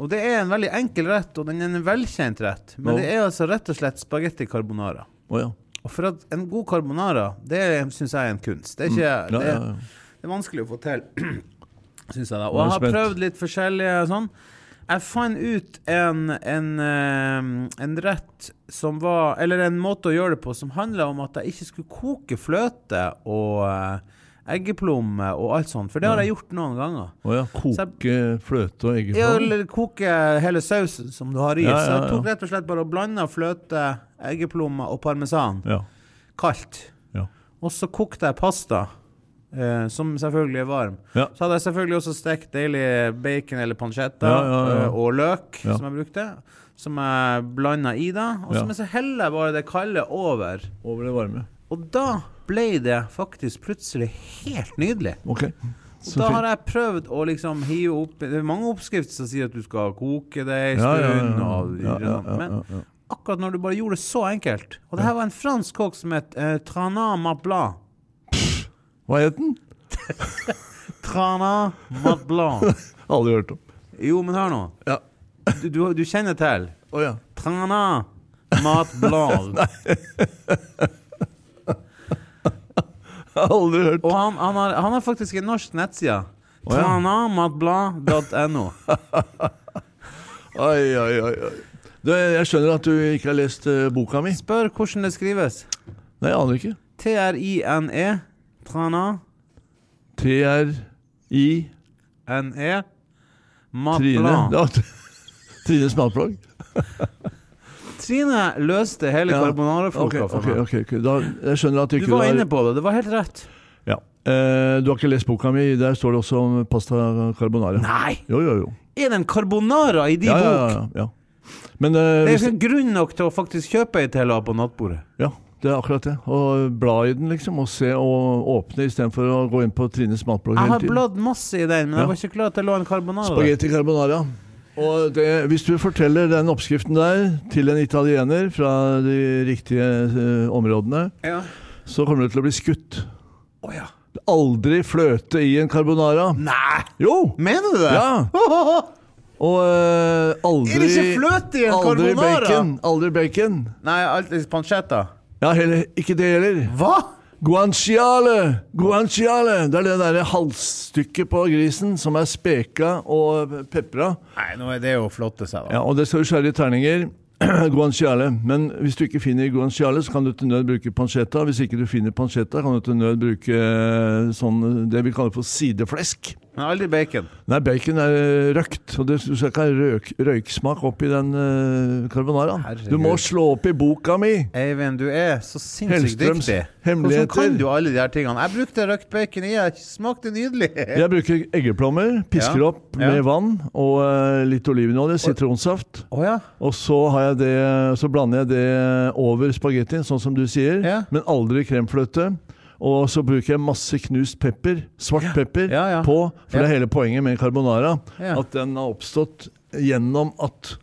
Speaker 1: Og det er en veldig enkel rett, og den er en velkjent rett. Men
Speaker 2: Nå.
Speaker 1: det er altså rett og slett spagetti carbonara.
Speaker 2: Å ja.
Speaker 1: Og for at en god carbonara, det syns jeg er en kunst. Det er ikke
Speaker 2: Mm. Ja,
Speaker 1: det,
Speaker 2: ja,
Speaker 1: er-
Speaker 2: ja.
Speaker 1: det er vanskelig å få til, [CLEARS THROAT] syns jeg da. Og
Speaker 2: Nå er
Speaker 1: jeg
Speaker 2: jeg
Speaker 1: har
Speaker 2: spent.
Speaker 1: prøvd litt forskjellige sånn. Jeg fant ut en, en, eh, en rett som var Eller en måte å gjøre det på som handla om at jeg ikke skulle koke fløte og eh, eggeplomme og alt sånt, for det har jeg gjort noen ganger.
Speaker 2: Å ja. Koke fløte og
Speaker 1: Ja,
Speaker 2: eggeplomme?
Speaker 1: eller koke hele sausen som du har i.
Speaker 2: Ja, ja,
Speaker 1: Så jeg
Speaker 2: ja.
Speaker 1: tok rett og slett bare og blanda fløte, eggeplommer og parmesan
Speaker 2: Ja.
Speaker 1: kaldt.
Speaker 2: ja.
Speaker 1: Og så kokte jeg pasta, eh, som selvfølgelig er varm.
Speaker 2: Ja.
Speaker 1: Så hadde jeg selvfølgelig også stekt deilig bacon eller pancetta
Speaker 2: Ja, ja, ja.
Speaker 1: eh, og løk,
Speaker 2: Ja.
Speaker 1: som jeg brukte. Som jeg blanda i da. Og
Speaker 2: Ja.
Speaker 1: så, men så heller jeg bare det kalde over.
Speaker 2: Over det varme.
Speaker 1: Og da ble det faktisk plutselig helt nydelig.
Speaker 2: Ok.
Speaker 1: Og
Speaker 2: Så
Speaker 1: da
Speaker 2: fint.
Speaker 1: har jeg prøvd å liksom hive opp Det er mange oppskrifter som sier at du skal koke det en
Speaker 2: Ja,
Speaker 1: stund.
Speaker 2: ja, ja,
Speaker 1: og- sånn,
Speaker 2: ja, ja, ja,
Speaker 1: Men
Speaker 2: ja, ja.
Speaker 1: akkurat når du bare gjorde det så enkelt Og det her var en fransk kokk som het eh, Trana Mabla.
Speaker 2: Hva het den?
Speaker 1: Trana Madlan.
Speaker 2: Aldri hørt om.
Speaker 1: Jo, men hør nå.
Speaker 2: Ja.
Speaker 1: Du, du, du kjenner til
Speaker 2: Å ja. [LAUGHS]
Speaker 1: Trana Madlan.
Speaker 2: Aldri hørt.
Speaker 1: Og han, han, har, han har faktisk en norsk nettside.
Speaker 2: Å, ja.
Speaker 1: Tranamadblad.no.
Speaker 2: Oi, oi, oi. oi. Du, jeg skjønner at du ikke har lest eh, boka mi.
Speaker 1: Spør hvordan det skrives.
Speaker 2: Nei, jeg aner ikke.
Speaker 1: T-r-i-n-e. Trana-n-e.
Speaker 2: TRI
Speaker 1: E
Speaker 2: Trine
Speaker 1: Madblad.
Speaker 2: ja, [LAUGHS] Trines matplagg?
Speaker 1: Trine løste hele
Speaker 2: Ja.
Speaker 1: carbonarafloka
Speaker 2: Ok,
Speaker 1: for
Speaker 2: ok,
Speaker 1: meg.
Speaker 2: ok, ok. Da, jeg skjønner at
Speaker 1: Du
Speaker 2: ikke
Speaker 1: var
Speaker 2: har-
Speaker 1: inne på det. Det var helt rett.
Speaker 2: Ja. Eh, du har ikke lest boka mi. Der står det også om pasta carbonara.
Speaker 1: Nei!
Speaker 2: Jo, jo, jo.
Speaker 1: Er det en carbonara i din
Speaker 2: Ja, ja,
Speaker 1: bok?
Speaker 2: ja, ja. Men eh,
Speaker 1: Det er
Speaker 2: hvis,
Speaker 1: ikke grunn nok til å faktisk kjøpe ei til å ha på nattbordet.
Speaker 2: ja, det er akkurat det. Å bla i den, liksom. Og se og åpne istedenfor å gå inn på Trines matblogg
Speaker 1: Jeg
Speaker 2: hele
Speaker 1: har
Speaker 2: tiden.
Speaker 1: bladd masse i den, men
Speaker 2: Ja.
Speaker 1: jeg var ikke klar til å lå en carbonara der.
Speaker 2: Spagetti carbonara. Og det, hvis du forteller den oppskriften der til en italiener fra de riktige eh, områdene,
Speaker 1: Ja.
Speaker 2: så kommer du til å bli skutt.
Speaker 1: Å ja.
Speaker 2: Aldri fløte i en carbonara.
Speaker 1: Nei!
Speaker 2: Jo!
Speaker 1: Mener du det?
Speaker 2: [LAUGHS] Ja. Og eh, aldri
Speaker 1: Er det ikke fløte i en
Speaker 2: Aldri
Speaker 1: carbonara?
Speaker 2: bacon. Aldri bacon.
Speaker 1: Nei, alltid pancetta.
Speaker 2: Ja, heller ikke det heller.
Speaker 1: Hva?!
Speaker 2: Guanciale! Guanciale! Det er det derre halsstykket på grisen som er speka og pepra.
Speaker 1: Nei, nå er det jo flotte seg, da.
Speaker 2: Ja, og det skal du skjære i terninger. [CLEARS THROAT] guanciale. Men hvis du ikke finner guanciale, så kan du til nød bruke pancetta. Hvis ikke du finner pancetta, kan du til nød bruke eh, sånn, det vi kaller for sideflesk.
Speaker 1: Men aldri bacon.
Speaker 2: Nei, bacon er eh, røkt, og det, du skal ikke ha røk, røyksmak oppi den eh, carbonaraen.
Speaker 1: Herregud.
Speaker 2: Du må slå opp i boka mi!
Speaker 1: Eivind, du er så sinnssykt
Speaker 2: Hellstrøms
Speaker 1: dyktig.
Speaker 2: hemmeligheter.
Speaker 1: Hvordan kan du alle de her tingene? Jeg brukte røkt bacon i, jeg smakte nydelig.
Speaker 2: Jeg bruker eggeplommer, pisker
Speaker 1: Ja,
Speaker 2: opp med
Speaker 1: ja.
Speaker 2: vann og eh, litt olivenolje, sitronsaft.
Speaker 1: Å ja.
Speaker 2: Og så, har jeg det, så blander jeg det over spagettien, sånn som du sier,
Speaker 1: Ja.
Speaker 2: men aldri kremfløte. Og så bruker jeg masse knust pepper, svart pepper,
Speaker 1: Ja, ja.
Speaker 2: på. For
Speaker 1: Ja.
Speaker 2: det er hele poenget med carbonara.
Speaker 1: Ja.
Speaker 2: At den har oppstått gjennom at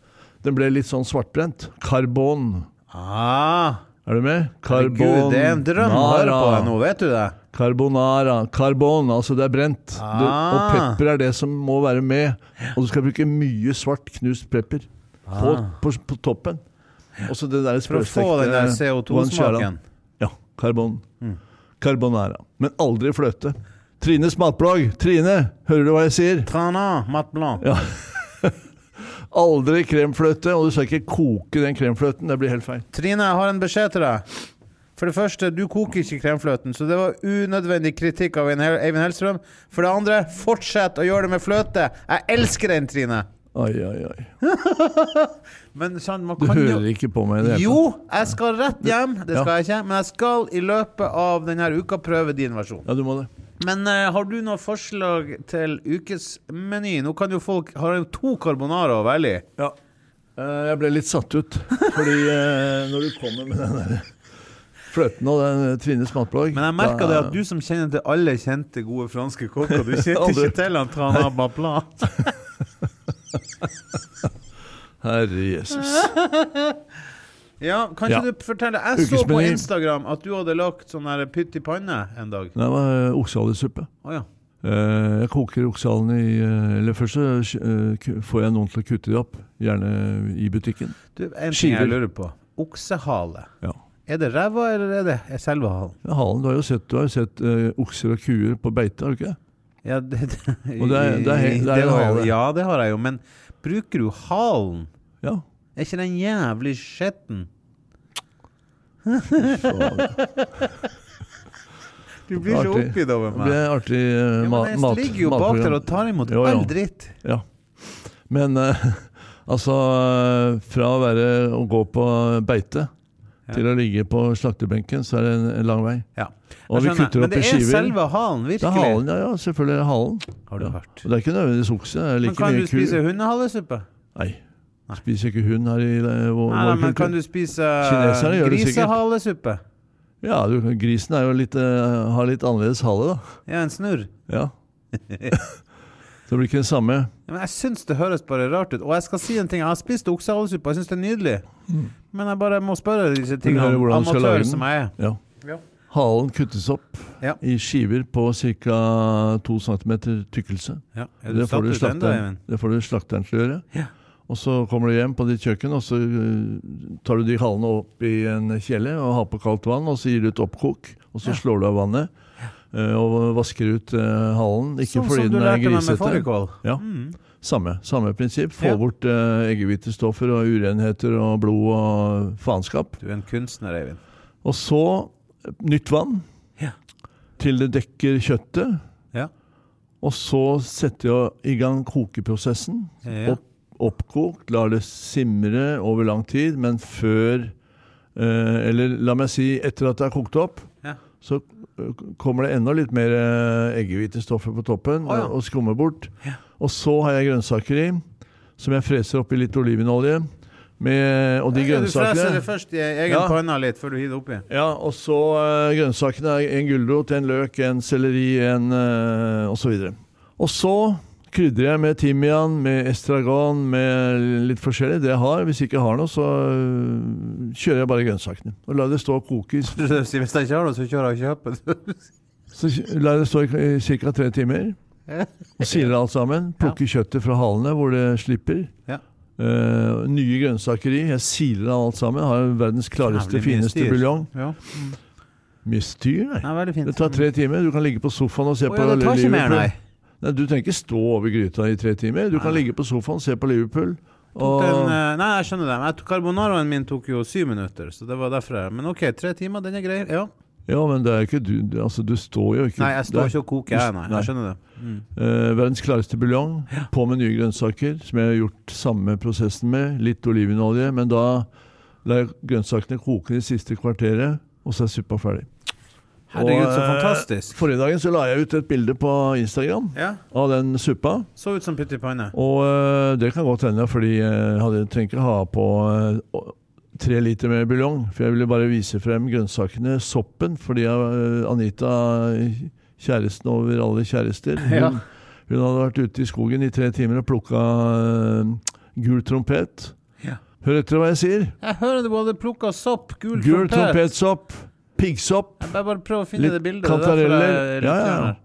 Speaker 2: den ble litt sånn svartbrent. Karbon.
Speaker 1: Ah,
Speaker 2: Er du med?
Speaker 1: Gud, det er en drøm å høre på deg nå, vet du det?
Speaker 2: Carbonara. Karbon, altså det er brent. Du, og
Speaker 1: Ah.
Speaker 2: pepper er det som må være med. Og du skal bruke mye svart knust pepper på, på, på toppen. Og så det
Speaker 1: Ah.
Speaker 2: der
Speaker 1: For å få den der CO2-smaken. Mm.
Speaker 2: Ja. Karbon. Carbonara. Men aldri fløte. Trines matblogg. Trine, hører du hva jeg sier?
Speaker 1: Trana, mat blanc.
Speaker 2: Aldri kremfløte, og du skal ikke koke den kremfløten. Det blir helt feil.
Speaker 1: Trine, jeg har en beskjed til deg. For det første, du koker ikke kremfløten, så det var unødvendig kritikk av Eivind Hellstrøm. For det andre, fortsett å gjøre det med fløte. Jeg elsker den, Trine.
Speaker 2: Oi, oi, oi.
Speaker 1: Men sant, man
Speaker 2: Du
Speaker 1: kan jo
Speaker 2: hører ikke på meg i det hele
Speaker 1: Jo, jeg skal rett hjem. Det skal jeg ikke. Men jeg skal i løpet av denne uka prøve din versjon.
Speaker 2: Ja, du må det.
Speaker 1: Men eh, har du noe forslag til ukesmeny? Nå kan jo folk har jo to carbonara å velge i.
Speaker 2: Ja. Eh, Jeg ble litt satt ut, fordi eh, når du kommer med den der fløten og den eh, Trines matblogg
Speaker 1: Men jeg merker det at du som kjenner til alle kjente, gode franske kokker, du
Speaker 2: [LAUGHS]
Speaker 1: kjenner
Speaker 2: Aldri.
Speaker 1: ikke til han Trana Babla.
Speaker 2: Herre Jesus.
Speaker 1: Ja, kan ikke
Speaker 2: Ja.
Speaker 1: du fortelle Jeg så på
Speaker 2: Ukesmeny.
Speaker 1: Instagram at du hadde lagt sånn her pytt i panne en dag.
Speaker 2: Nei, det var eh, oksehalessuppe.
Speaker 1: Å ja.
Speaker 2: Eh, Jeg koker oksehalene i eh, Eller først så eh, k- får jeg noen til å kutte de opp, gjerne i butikken.
Speaker 1: Du, en ting
Speaker 2: Skiver.
Speaker 1: jeg lurer på. Oksehale.
Speaker 2: Ja.
Speaker 1: Er det ræva, eller er det er selve halen?
Speaker 2: Ja, Halen, du har jo sett, du har jo sett eh, okser og kuer på beite, har du ikke?
Speaker 1: Ja, det,
Speaker 2: Og det er- det er he- det er en
Speaker 1: har jeg jo-
Speaker 2: hale.
Speaker 1: Ja, det har jeg jo, men bruker du halen?
Speaker 2: Ja.
Speaker 1: Er ikke den jævlig
Speaker 2: [LAUGHS]
Speaker 1: skjetten?
Speaker 2: Faen,
Speaker 1: Du blir så
Speaker 2: Artig.
Speaker 1: oppgitt over
Speaker 2: Det blir
Speaker 1: meg.
Speaker 2: en artig eh,
Speaker 1: Ja,
Speaker 2: ma-
Speaker 1: men
Speaker 2: mat,
Speaker 1: jeg ligger jo bak der og tar imot
Speaker 2: Jo, jo.
Speaker 1: all dritt.
Speaker 2: Ja. Men eh, [LAUGHS] altså eh, Fra å være å gå på beite
Speaker 1: Ja.
Speaker 2: til å ligge på slakterbenken, så er det en, en lang vei.
Speaker 1: Ja.
Speaker 2: Og vi
Speaker 1: Jeg skjønner.
Speaker 2: kutter opp i
Speaker 1: Men det er
Speaker 2: skiver.
Speaker 1: selve halen,
Speaker 2: Det er
Speaker 1: virkelig.
Speaker 2: halen, ja. ja selvfølgelig er det halen.
Speaker 1: Har du
Speaker 2: Ja.
Speaker 1: hørt.
Speaker 2: Og det er ikke nødvendigvis okse. Det er
Speaker 1: Men
Speaker 2: like
Speaker 1: kan du
Speaker 2: mye ku.
Speaker 1: spise hundehalesuppe?
Speaker 2: Nei. Spiser ikke hund her i eh, vår,
Speaker 1: Nei,
Speaker 2: vår
Speaker 1: nei, men
Speaker 2: kultur.
Speaker 1: kan du spise eh,
Speaker 2: Kineserne gjør det sikkert.
Speaker 1: grisehalesuppe?
Speaker 2: Ja, du, grisen er jo litt, eh, har litt annerledes hale, da.
Speaker 1: Ja, en snurr.
Speaker 2: [LAUGHS] Ja. så det blir ikke det samme.
Speaker 1: Ja, Men jeg syns det høres bare rart ut. Og jeg skal si en ting. Jeg har spist oksehalesuppe, jeg syns det er nydelig.
Speaker 2: Mm.
Speaker 1: Men jeg bare må spørre disse
Speaker 2: hører
Speaker 1: tingene.
Speaker 2: hvordan du skal lage
Speaker 1: Amatør
Speaker 2: den.
Speaker 1: som jeg er.
Speaker 2: Ja.
Speaker 1: Ja.
Speaker 2: Halen kuttes opp
Speaker 1: Ja.
Speaker 2: i skiver på ca. 2 cm tykkelse.
Speaker 1: Ja, er du
Speaker 2: Det får, du
Speaker 1: satt ut ennå,
Speaker 2: slakteren,
Speaker 1: Eivind?
Speaker 2: det får du slakteren til å gjøre.
Speaker 1: Ja.
Speaker 2: Og så kommer du hjem på ditt kjøkken, og så eh, tar du de halene opp i en kjele og har på kaldt vann, og så gir du et oppkok, og så
Speaker 1: Ja.
Speaker 2: slår du av vannet. eh, Og vasker ut eh, halen. Ikke
Speaker 1: Sånn
Speaker 2: fordi
Speaker 1: som du
Speaker 2: den
Speaker 1: lærte
Speaker 2: er
Speaker 1: meg med
Speaker 2: grisete.
Speaker 1: fårikål.
Speaker 2: Ja.
Speaker 1: Mm.
Speaker 2: Samme, samme prinsipp. Få
Speaker 1: Ja.
Speaker 2: bort eh, eggehvitestoffer og urenheter og blod og faenskap.
Speaker 1: Du er en kunstner, Eivind.
Speaker 2: Og så nytt vann
Speaker 1: Ja.
Speaker 2: til det dekker kjøttet.
Speaker 1: Ja.
Speaker 2: Og så setter jeg i gang kokeprosessen.
Speaker 1: Ja.
Speaker 2: Opp, oppkokt, lar det simre over lang tid, men før eh, Eller la meg si etter at det er kokt opp,
Speaker 1: Ja.
Speaker 2: så eh, kommer det enda litt mer eh, eggehvitestoffer på toppen
Speaker 1: Å ja.
Speaker 2: og skummer bort.
Speaker 1: Ja.
Speaker 2: Og så har jeg grønnsaker i, som jeg freser oppi litt olivenolje. Med, og de
Speaker 1: Ja, du freser
Speaker 2: grønnsakene
Speaker 1: det først i egen
Speaker 2: Ja.
Speaker 1: panne litt før du hiver det oppi.
Speaker 2: [LAUGHS] ja, og så eh, grønnsakene er en gulrot, en løk, en selleri, en uh, osv. Og så krydrer jeg med timian, med estragon, med litt forskjellig. Det jeg har. Hvis jeg ikke har noe, så eh, kjører jeg bare grønnsakene. Og lar det stå og koke i,
Speaker 1: Du sier, Hvis jeg ikke har det, så kjører jeg og kjøper.
Speaker 2: så kj- lar det stå i, i ca. tre timer. Og siler alt sammen. Plukker kjøttet fra halene hvor det slipper.
Speaker 1: Ja.
Speaker 2: Eh, nye grønnsaker i. Jeg siler av alt sammen. Har verdens klareste,
Speaker 1: Jævlig mye
Speaker 2: fineste
Speaker 1: styr.
Speaker 2: buljong.
Speaker 1: Ja.
Speaker 2: Mye styr, nei.
Speaker 1: Nei, veldig fint.
Speaker 2: Det tar tre timer. Du kan ligge på sofaen og se
Speaker 1: Å,
Speaker 2: på
Speaker 1: ja, det tar ikke mer,
Speaker 2: Liverpool.
Speaker 1: nei.
Speaker 2: Nei, du trenger ikke stå over gryta i tre timer. Du kan
Speaker 1: Nei.
Speaker 2: ligge på sofaen, se på Liverpool.
Speaker 1: Tok
Speaker 2: Og,
Speaker 1: Den, eh, nei, jeg skjønner det. Men jeg tok- Carbonaraen min tok jo syv minutter, så det var derfor jeg Men OK, tre timer, den er grei. Ja.
Speaker 2: ja, men det er ikke du, du altså, du står jo ikke
Speaker 1: Nei, jeg står ikke og koker, jeg, nei.
Speaker 2: Nei.
Speaker 1: Jeg skjønner det. Mm.
Speaker 2: Eh, verdens klareste buljong, på med nye grønnsaker, som jeg har gjort samme prosessen med. Litt olivenolje, men da lar jeg grønnsakene koke det siste kvarteret, og så er suppa ferdig.
Speaker 1: Herregud,
Speaker 2: Og,
Speaker 1: så
Speaker 2: eh,
Speaker 1: fantastisk.
Speaker 2: Forrige dagen så la jeg ut et bilde på Instagram
Speaker 1: Ja,
Speaker 2: av den suppa.
Speaker 1: Så ut som pytt i panne.
Speaker 2: Og øh, det kan godt hende, fordi jeg hadde, trenger ikke ha på øh, å- tre liter med buljong. For jeg ville bare vise frem grønnsakene, soppen, fordi jeg, øh, Anita, kjæresten over
Speaker 1: [LAUGHS]
Speaker 2: alle kjærester, hun,
Speaker 1: Ja.
Speaker 2: hun hadde vært ute i skogen i tre timer og plukka øh, gul trompet.
Speaker 1: Ja.
Speaker 2: Hør etter hva jeg sier.
Speaker 1: Jeg hører du hadde plukka sopp, gul,
Speaker 2: Gul
Speaker 1: trompet.
Speaker 2: trompetsopp, piggsopp.
Speaker 1: Jeg bare, bare prøver å finne
Speaker 2: Litt
Speaker 1: det bildet. det er derfor jeg
Speaker 2: kantareller.
Speaker 1: er litt
Speaker 2: Ja, ja, ja.
Speaker 1: fjern her.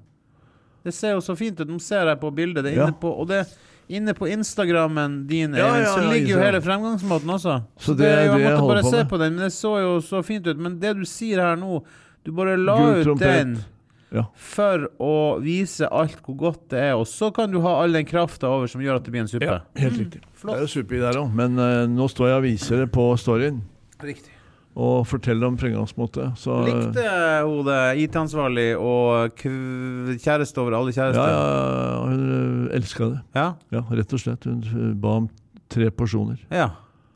Speaker 1: Det ser jo så fint ut. Nå ser jeg på bildet. Det er
Speaker 2: Ja.
Speaker 1: inne på, og det er inne på Instagrammen din
Speaker 2: Ja,
Speaker 1: Eivind,
Speaker 2: ja, ja,
Speaker 1: så ligger jo
Speaker 2: Instagram.
Speaker 1: hele fremgangsmåten også.
Speaker 2: Så det er
Speaker 1: jo-
Speaker 2: det jeg
Speaker 1: Jeg måtte
Speaker 2: holder
Speaker 1: bare
Speaker 2: på
Speaker 1: se
Speaker 2: med.
Speaker 1: på den, men det så jo så fint ut. Men det du sier her nå Du bare la
Speaker 2: Gul
Speaker 1: ut
Speaker 2: trompet.
Speaker 1: den
Speaker 2: Ja.
Speaker 1: for å vise alt hvor godt det er, og så kan du ha all den krafta over som gjør at det blir en suppe.
Speaker 2: helt riktig. Det
Speaker 1: flott.
Speaker 2: er jo suppe i der òg, men øh, nå står jeg og viser det på storyen.
Speaker 1: Riktig.
Speaker 2: Og forteller om fremgangsmåte. Så, øh,
Speaker 1: Likte hun det IT-ansvarlig og kv kjæreste over alle
Speaker 2: Ja,
Speaker 1: kjærester?
Speaker 2: ja, ja, hun elska det.
Speaker 1: ja.
Speaker 2: Ja, rett og slett. Hun ø, ba om tre porsjoner.
Speaker 1: Ja.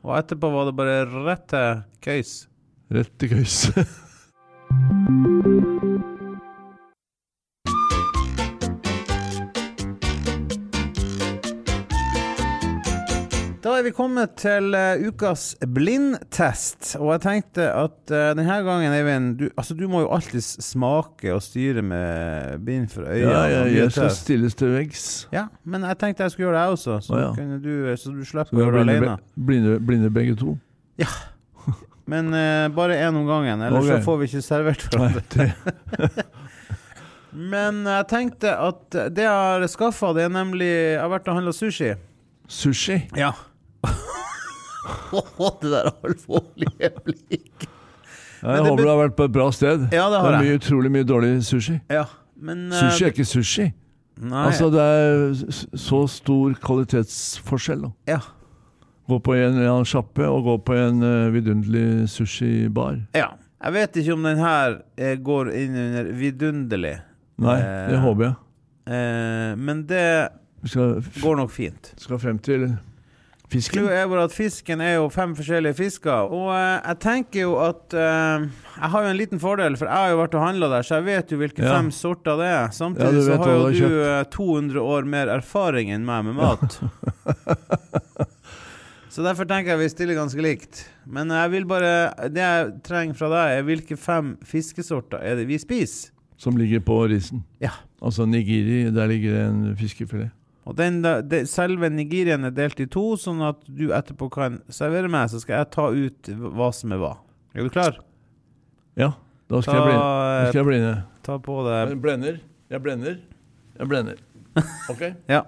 Speaker 1: Og etterpå var det bare rett til køys.
Speaker 2: Rett i køys.
Speaker 1: Da er vi kommet til eh, ukas blindtest, og jeg tenkte at eh, denne gangen, Eivind du, altså, du må jo alltid smake og styre med bind for øynene.
Speaker 2: [LAUGHS] ja, ja,
Speaker 1: og mye
Speaker 2: jeg skal
Speaker 1: tøv.
Speaker 2: stilles til veggs.
Speaker 1: ja, men jeg tenkte jeg skulle gjøre det, jeg også, eh, så,
Speaker 2: Å, ja.
Speaker 1: kunne du, så du slipper
Speaker 2: Vi
Speaker 1: å
Speaker 2: er
Speaker 1: gjøre det alene.
Speaker 2: blinde, be- blinde, blinde begge to.
Speaker 1: Men eh, bare én om gangen, ellers
Speaker 2: Ok.
Speaker 1: så får vi ikke servert
Speaker 2: Nei,
Speaker 1: hverandre.
Speaker 2: det,
Speaker 1: Men jeg tenkte at det jeg har skaffa, det er nemlig Jeg har vært og handla sushi.
Speaker 2: sushi.
Speaker 1: Ja. [LAUGHS] det der alvorlige blikket.
Speaker 2: Jeg
Speaker 1: det
Speaker 2: håper
Speaker 1: bet-
Speaker 2: du har vært på et bra sted.
Speaker 1: Ja, det har
Speaker 2: det er
Speaker 1: jeg.
Speaker 2: mye, utrolig mye dårlig sushi.
Speaker 1: Ja, men eh,
Speaker 2: Sushi er ikke sushi.
Speaker 1: Nei.
Speaker 2: Altså, det er s- så stor kvalitetsforskjell. Da.
Speaker 1: ja.
Speaker 2: Gå på en eller annen sjappe og gå på en eh, vidunderlig sushibar.
Speaker 1: ja. Jeg vet ikke om den her eh, går inn under vidunderlig,
Speaker 2: Nei,
Speaker 1: Eh.
Speaker 2: det håper jeg.
Speaker 1: eh, men det
Speaker 2: Vi skal,
Speaker 1: går nok fint.
Speaker 2: skal frem til fisken.
Speaker 1: Clouet er bare at fisken er jo fem forskjellige fisker. Og eh, jeg tenker jo at eh, Jeg har jo en liten fordel, for jeg har jo vært og handla der, så jeg vet jo hvilke
Speaker 2: Ja.
Speaker 1: fem sorter det er.
Speaker 2: Ja,
Speaker 1: Samtidig
Speaker 2: du
Speaker 1: så
Speaker 2: vet
Speaker 1: har
Speaker 2: hva
Speaker 1: jo
Speaker 2: du
Speaker 1: du
Speaker 2: har
Speaker 1: eh, 200 år mer erfaring enn meg med mat.
Speaker 2: [LAUGHS]
Speaker 1: så derfor tenker jeg vi stiller ganske likt. Men jeg vil bare Det jeg trenger fra deg, er hvilke fem fiskesorter er det vi spiser?
Speaker 2: Som ligger på risen.
Speaker 1: Ja.
Speaker 2: Altså Nigiri, der ligger det en fiskefilet.
Speaker 1: Og den, da- de, selve Nigerian er delt i to, sånn at du etterpå kan servere meg, så skal jeg ta ut hva som er hva. Er du klar?
Speaker 2: Ja, da skal
Speaker 1: Ta,
Speaker 2: jeg blinde. Da skal jeg blinde.
Speaker 1: ta på deg
Speaker 2: Jeg blender. Jeg blender. Jeg
Speaker 1: [LAUGHS]
Speaker 2: blender. Ok?
Speaker 1: Ja.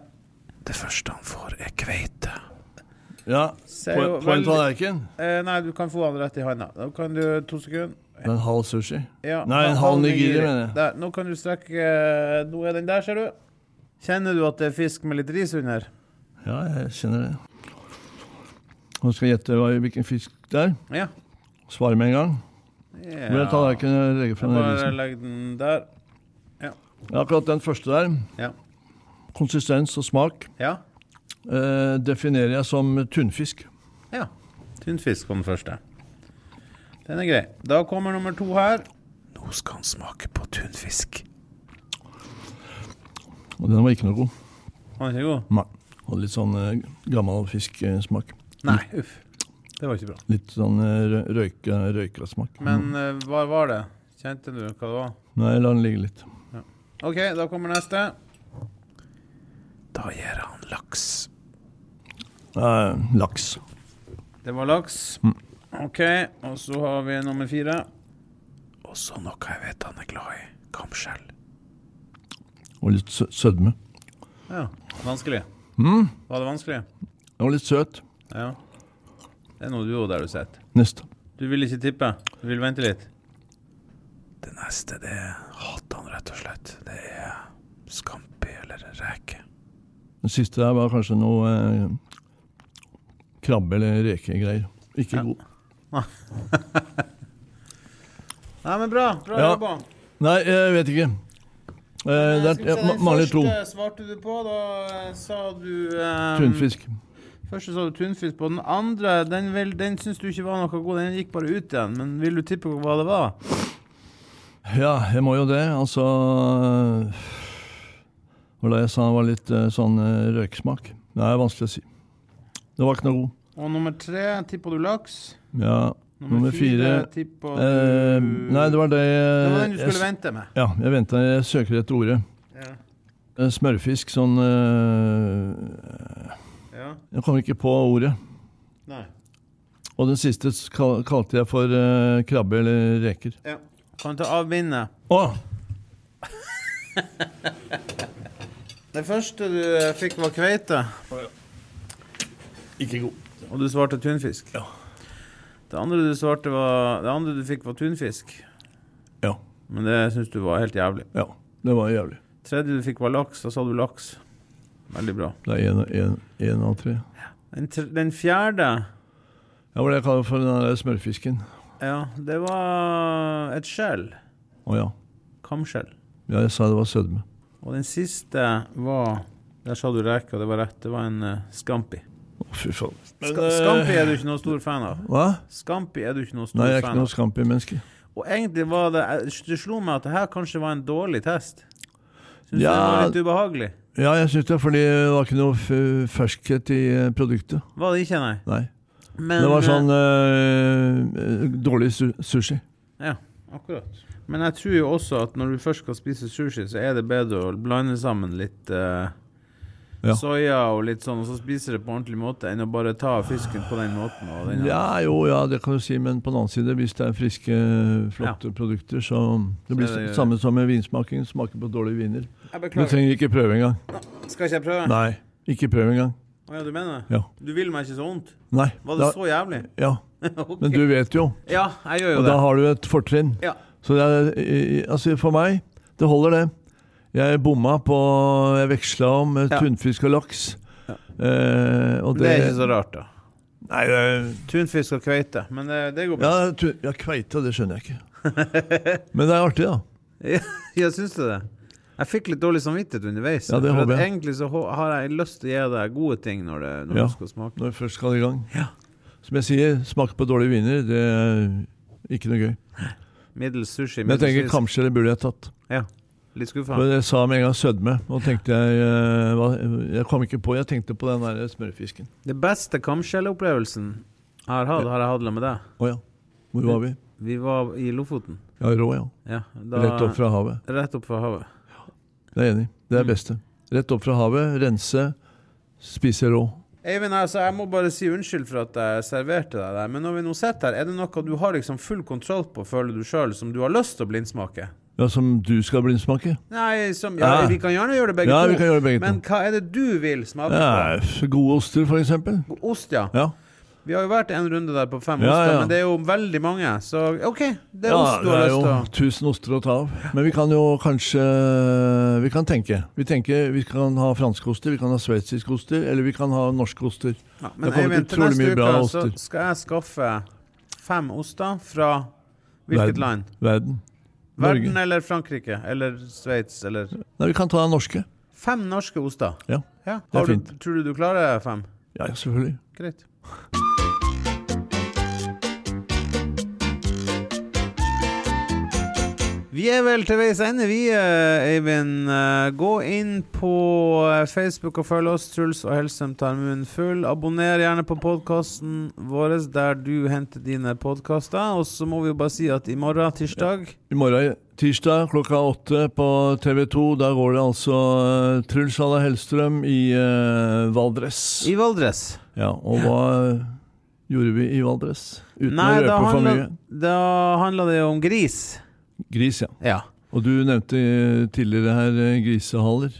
Speaker 1: Det første han får, er kveite.
Speaker 2: Ja,
Speaker 1: Ser
Speaker 2: på,
Speaker 1: jo
Speaker 2: på en
Speaker 1: veldig-
Speaker 2: tallerken.
Speaker 1: Eh, nei, du kan få han rett i handa. Nå kan du To sekunder.
Speaker 2: Det er en halv sushi.
Speaker 1: Ja,
Speaker 2: Nei, en halv nigiri, mener jeg.
Speaker 1: Der, nå kan du strekke eh, Nå er den der, ser du. Kjenner du at det er fisk med litt ris under?
Speaker 2: Ja, jeg kjenner det. Nå skal jeg gjette hva, hvilken fisk det er.
Speaker 1: Ja.
Speaker 2: Svare med en gang.
Speaker 1: ja.
Speaker 2: Hvor er tallerkenen jeg legger frem den
Speaker 1: Bare
Speaker 2: risen?
Speaker 1: legg den der.
Speaker 2: Ja, akkurat den første der.
Speaker 1: Ja.
Speaker 2: Konsistens og smak
Speaker 1: Ja.
Speaker 2: eh, definerer jeg som tunfisk.
Speaker 1: Ja. Tunfisk kom den første. Den er grei. Da kommer nummer to her. Nå skal han smake på tunfisk.
Speaker 2: Og den var ikke noe god.
Speaker 1: Var den ikke god?
Speaker 2: Nei. Hadde litt sånn eh, gammel fisksmak.
Speaker 1: Nei, uff. Mm. Det var ikke bra.
Speaker 2: Litt sånn eh, rø- røyka, røyka smak.
Speaker 1: Men eh, hva var det? Kjente du hva det var?
Speaker 2: Nei, la den ligge litt.
Speaker 1: OK, da kommer neste. Da gir han laks.
Speaker 2: Eh, laks.
Speaker 1: Det var laks. OK, og så har vi nummer fire. Også noe jeg vet han er glad i. Kamskjell.
Speaker 2: Og litt sø sødme.
Speaker 1: Ja. Vanskelig. Var det vanskelig?
Speaker 2: Den var litt søt.
Speaker 1: Ja. Det er noe du gjorde der du sitter.
Speaker 2: Neste.
Speaker 1: Du vil ikke tippe? Du vil vente litt? Det neste, det hater han rett og slett. Det er skampi eller reke.
Speaker 2: Den siste der var kanskje noe eh, krabbe- eller rekegreier. Ikke
Speaker 1: Ja.
Speaker 2: god.
Speaker 1: Nei, men bra. Bra
Speaker 2: Ja.
Speaker 1: jobba.
Speaker 2: Nei, jeg vet ikke. Eh, det er, jeg, ma- mangler to.
Speaker 1: første svarte du på, da eh, sa du eh,
Speaker 2: Tunfisk.
Speaker 1: Første sa du tunfisk på. Den andre, den, vil- den syns du ikke var noe god. Den gikk bare ut igjen. Men vil du tippe hva det var?
Speaker 2: Ja, jeg må jo det. Altså eh, Hva var det jeg sa? Det var litt eh, sånn eh, røyksmak. Det er vanskelig å si. Det var ikke noe god.
Speaker 1: Og nummer tre, tippa du laks?
Speaker 2: Ja. Nummer fire,
Speaker 1: tippa du
Speaker 2: Eh, nei, det var eh, det
Speaker 1: Det var den du
Speaker 2: jeg,
Speaker 1: skulle vente med.
Speaker 2: Ja, jeg venter. Jeg søker etter ordet.
Speaker 1: Ja.
Speaker 2: Eh, Smørfisk, sånn eh,
Speaker 1: ja.
Speaker 2: Jeg kommer ikke på ordet.
Speaker 1: Nei.
Speaker 2: Og den siste s- kal- kalte jeg for eh, krabbe eller reker.
Speaker 1: Ja. Kan ta av bindet.
Speaker 2: Å!
Speaker 1: Det første du eh, fikk var kveite,
Speaker 2: Ikke god.
Speaker 1: og du svarte tunfisk.
Speaker 2: Ja.
Speaker 1: Det andre du svarte var Det andre du fikk var tunfisk,
Speaker 2: Ja.
Speaker 1: men det syns du var helt jævlig.
Speaker 2: ja. Det var jævlig.
Speaker 1: Tredje du fikk var laks, da sa du laks. Veldig bra.
Speaker 2: Det er én- én én av tre.
Speaker 1: Den, tr- den fjerde
Speaker 2: Ja, hva er det jeg kaller for den der smørfisken?
Speaker 1: Ja, det var et skjell.
Speaker 2: Å ja.
Speaker 1: Kamskjell.
Speaker 2: ja. Jeg sa det var sødme.
Speaker 1: Og den siste var Der sa du reke, og det var rett. Det var en eh, scampi.
Speaker 2: Å, fy faen.
Speaker 1: Ska, scampi er du ikke noe stor fan av.
Speaker 2: Hva?
Speaker 1: Scampi er du ikke noe stor
Speaker 2: eh, Nei, jeg er ikke
Speaker 1: fan
Speaker 2: noe
Speaker 1: av.
Speaker 2: scampi-menneske.
Speaker 1: Og egentlig var det jeg- Det slo meg at det her kanskje var en dårlig test. Syns du det
Speaker 2: Ja.
Speaker 1: var litt ubehagelig?
Speaker 2: Ja, jeg syns det, fordi det var ikke noe f ferskhet i eh, produktet.
Speaker 1: Var det ikke, nei?
Speaker 2: Nei.
Speaker 1: Men,
Speaker 2: Det var sånn eh, eh, dårlig su sushi.
Speaker 1: Ja, akkurat. Men jeg tror jo også at når du først skal spise sushi, så er det bedre å blande sammen litt eh,
Speaker 2: Ja.
Speaker 1: soya og litt sånn, og så spiser det på ordentlig måte, enn å bare ta fisken på den måten. Og den
Speaker 2: Ja, jo, ja, det kan du si, men på den annen side, hvis det er friske, flotte produkter, så Det blir
Speaker 1: Så er det-
Speaker 2: s- samme som med vinsmaking. Smaker på dårlige viner.
Speaker 1: Jeg
Speaker 2: Du
Speaker 1: beklager.
Speaker 2: trenger ikke prøve engang.
Speaker 1: Skal ikke jeg prøve?
Speaker 2: Nei. Ikke prøve engang.
Speaker 1: Å ja, du mener det?
Speaker 2: Ja.
Speaker 1: Du vil meg ikke så vondt?
Speaker 2: Nei.
Speaker 1: Var det
Speaker 2: Da,
Speaker 1: så jævlig? [LAUGHS]
Speaker 2: ja.
Speaker 1: Ok.
Speaker 2: Men du vet jo,
Speaker 1: Ja, jeg gjør jo
Speaker 2: og
Speaker 1: det.
Speaker 2: da har du et fortrinn.
Speaker 1: Ja.
Speaker 2: Så det er, i- i- altså for meg, det holder det. Jeg bomma på Jeg veksla om med
Speaker 1: Ja.
Speaker 2: tunfisk og laks.
Speaker 1: Ja.
Speaker 2: Eh, og
Speaker 1: Det er ikke så rart, da.
Speaker 2: Nei, det er
Speaker 1: Tunfisk og kveite, men det, det går bra.
Speaker 2: Ja, tu- ja, kveite, det
Speaker 1: [LAUGHS]
Speaker 2: skjønner jeg ikke. Men det er artig, da.
Speaker 1: Ja, syns du det? Jeg fikk litt dårlig samvittighet underveis.
Speaker 2: Ja, det
Speaker 1: for at
Speaker 2: håper jeg.
Speaker 1: Egentlig så hå- har jeg lyst til å gi deg gode ting når, det, når
Speaker 2: Ja.
Speaker 1: du skal smake.
Speaker 2: Når vi først skal i gang.
Speaker 1: Ja.
Speaker 2: Som jeg sier, smak på dårlige viner, det er ikke noe gøy.
Speaker 1: Middels sushi,
Speaker 2: Men jeg
Speaker 1: middels
Speaker 2: tenker
Speaker 1: fisk.
Speaker 2: kamskjell burde jeg tatt.
Speaker 1: Litt skuffa.
Speaker 2: Men jeg sa med en gang sødme, og tenkte jeg eh, hva- Jeg kom ikke på, jeg tenkte på den der smørfisken.
Speaker 1: Det beste kamskjellopplevelsen jeg har hatt, har jeg hatt med deg.
Speaker 2: Å ja. Hvor var vi?
Speaker 1: Vi var i Lofoten.
Speaker 2: Ja, rå, ja.
Speaker 1: Ja, da,
Speaker 2: Rett opp fra havet.
Speaker 1: Rett opp fra havet.
Speaker 2: Det er jeg enig. i. Det
Speaker 1: Mm.
Speaker 2: er beste. Rett opp fra havet, rense, spise rå.
Speaker 1: Eivind, altså, jeg må bare si unnskyld for at jeg serverte deg der, men når vi nå sitter her, er det noe du har liksom full kontroll på, føler du sjøl, som du har lyst til å blindsmake?
Speaker 2: Ja, som du skal blindsmake?
Speaker 1: Nei, som Ja,
Speaker 2: Ja.
Speaker 1: vi kan gjerne gjøre det begge
Speaker 2: Ja,
Speaker 1: to,
Speaker 2: vi kan gjøre begge
Speaker 1: men
Speaker 2: to.
Speaker 1: hva er det du vil smake
Speaker 2: Ja, gode oster, for eksempel.
Speaker 1: på? Ost, ja.
Speaker 2: Ja.
Speaker 1: Vi har jo vært en runde der på fem
Speaker 2: Ja,
Speaker 1: oster,
Speaker 2: ja.
Speaker 1: men det er jo veldig mange, så OK, det er
Speaker 2: ja,
Speaker 1: ost du
Speaker 2: det
Speaker 1: har
Speaker 2: er jo
Speaker 1: lyst til.
Speaker 2: tusen oster å ta av. Men vi kan jo kanskje Vi kan tenke. Vi tenker vi kan ha franske oster, vi kan ha sveitsiske oster, eller vi kan ha norske oster.
Speaker 1: å- Ja, men
Speaker 2: det kommer
Speaker 1: Eivind, til
Speaker 2: utrolig
Speaker 1: neste
Speaker 2: mye
Speaker 1: uke
Speaker 2: bra
Speaker 1: så
Speaker 2: oster.
Speaker 1: skal jeg skaffe fem oster fra hvilket
Speaker 2: Verden.
Speaker 1: land?
Speaker 2: Verden.
Speaker 1: Verden
Speaker 2: Norge.
Speaker 1: eller Frankrike eller Sveits eller
Speaker 2: Nei, vi kan ta norske.
Speaker 1: Fem norske oster.
Speaker 2: Ja.
Speaker 1: Ja.
Speaker 2: Det er
Speaker 1: Har du,
Speaker 2: fint.
Speaker 1: tror du du klarer fem?
Speaker 2: Ja, ja, selvfølgelig.
Speaker 1: Greit. Vi er vel til veis ende, vi, eh, Eivind. Eh, Gå inn på eh, Facebook og følg oss. Truls og Helsem tar munnen full. Abonner gjerne på podkasten vår der du henter dine podkaster. Og så må vi jo bare si at i morgen, tirsdag
Speaker 2: I morgen tirsdag klokka åtte på TV 2. Da går det altså eh, Truls Halla Hellstrøm i eh, Valdres.
Speaker 1: i Valdres
Speaker 2: Ja, og hva gjorde vi i Valdres? Uten
Speaker 1: Nei,
Speaker 2: å
Speaker 1: da
Speaker 2: røpe for
Speaker 1: handla,
Speaker 2: mye.
Speaker 1: da handla det jo om gris.
Speaker 2: Gris, ja.
Speaker 1: Ja.
Speaker 2: Og du nevnte eh, tidligere her eh, grisehaler.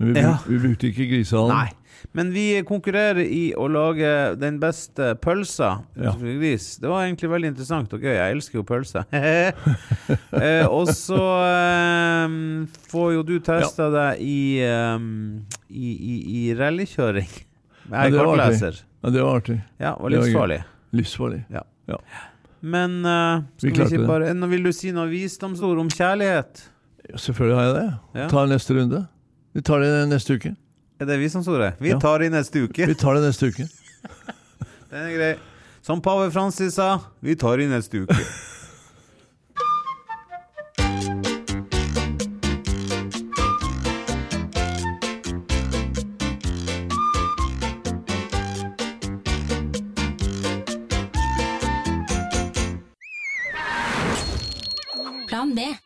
Speaker 2: Men vi, bruk,
Speaker 1: Ja.
Speaker 2: vi brukte ikke grisehalen.
Speaker 1: Nei. Men vi konkurrerer i å lage den beste pølsa
Speaker 2: Ja.
Speaker 1: utenfor gris. Det var egentlig veldig interessant og gøy. Jeg elsker jo pølse. [LAUGHS] eh, og så eh, får jo du testa deg i, eh, i, i, i rallykjøring. Jeg
Speaker 2: det
Speaker 1: er
Speaker 2: var
Speaker 1: kartleser.
Speaker 2: Ja, det var artig.
Speaker 1: Ja, og
Speaker 2: Det var gøy.
Speaker 1: livsfarlig.
Speaker 2: Livsfarlig.
Speaker 1: Men eh, skal
Speaker 2: Vi
Speaker 1: vi
Speaker 2: klarte
Speaker 1: ikke
Speaker 2: det.
Speaker 1: bare Nå Vil du si noe visdomsord om kjærlighet?
Speaker 2: Ja, selvfølgelig har jeg det.
Speaker 1: Ja.
Speaker 2: Ta neste runde. Vi tar det neste uke.
Speaker 1: Er det visdomsordet? Vi
Speaker 2: Ja.
Speaker 1: tar det i neste uke.
Speaker 2: Vi tar det neste uke.
Speaker 1: Den er grei. Som pave Francis sa, vi tar det i neste uke.
Speaker 3: Plan B.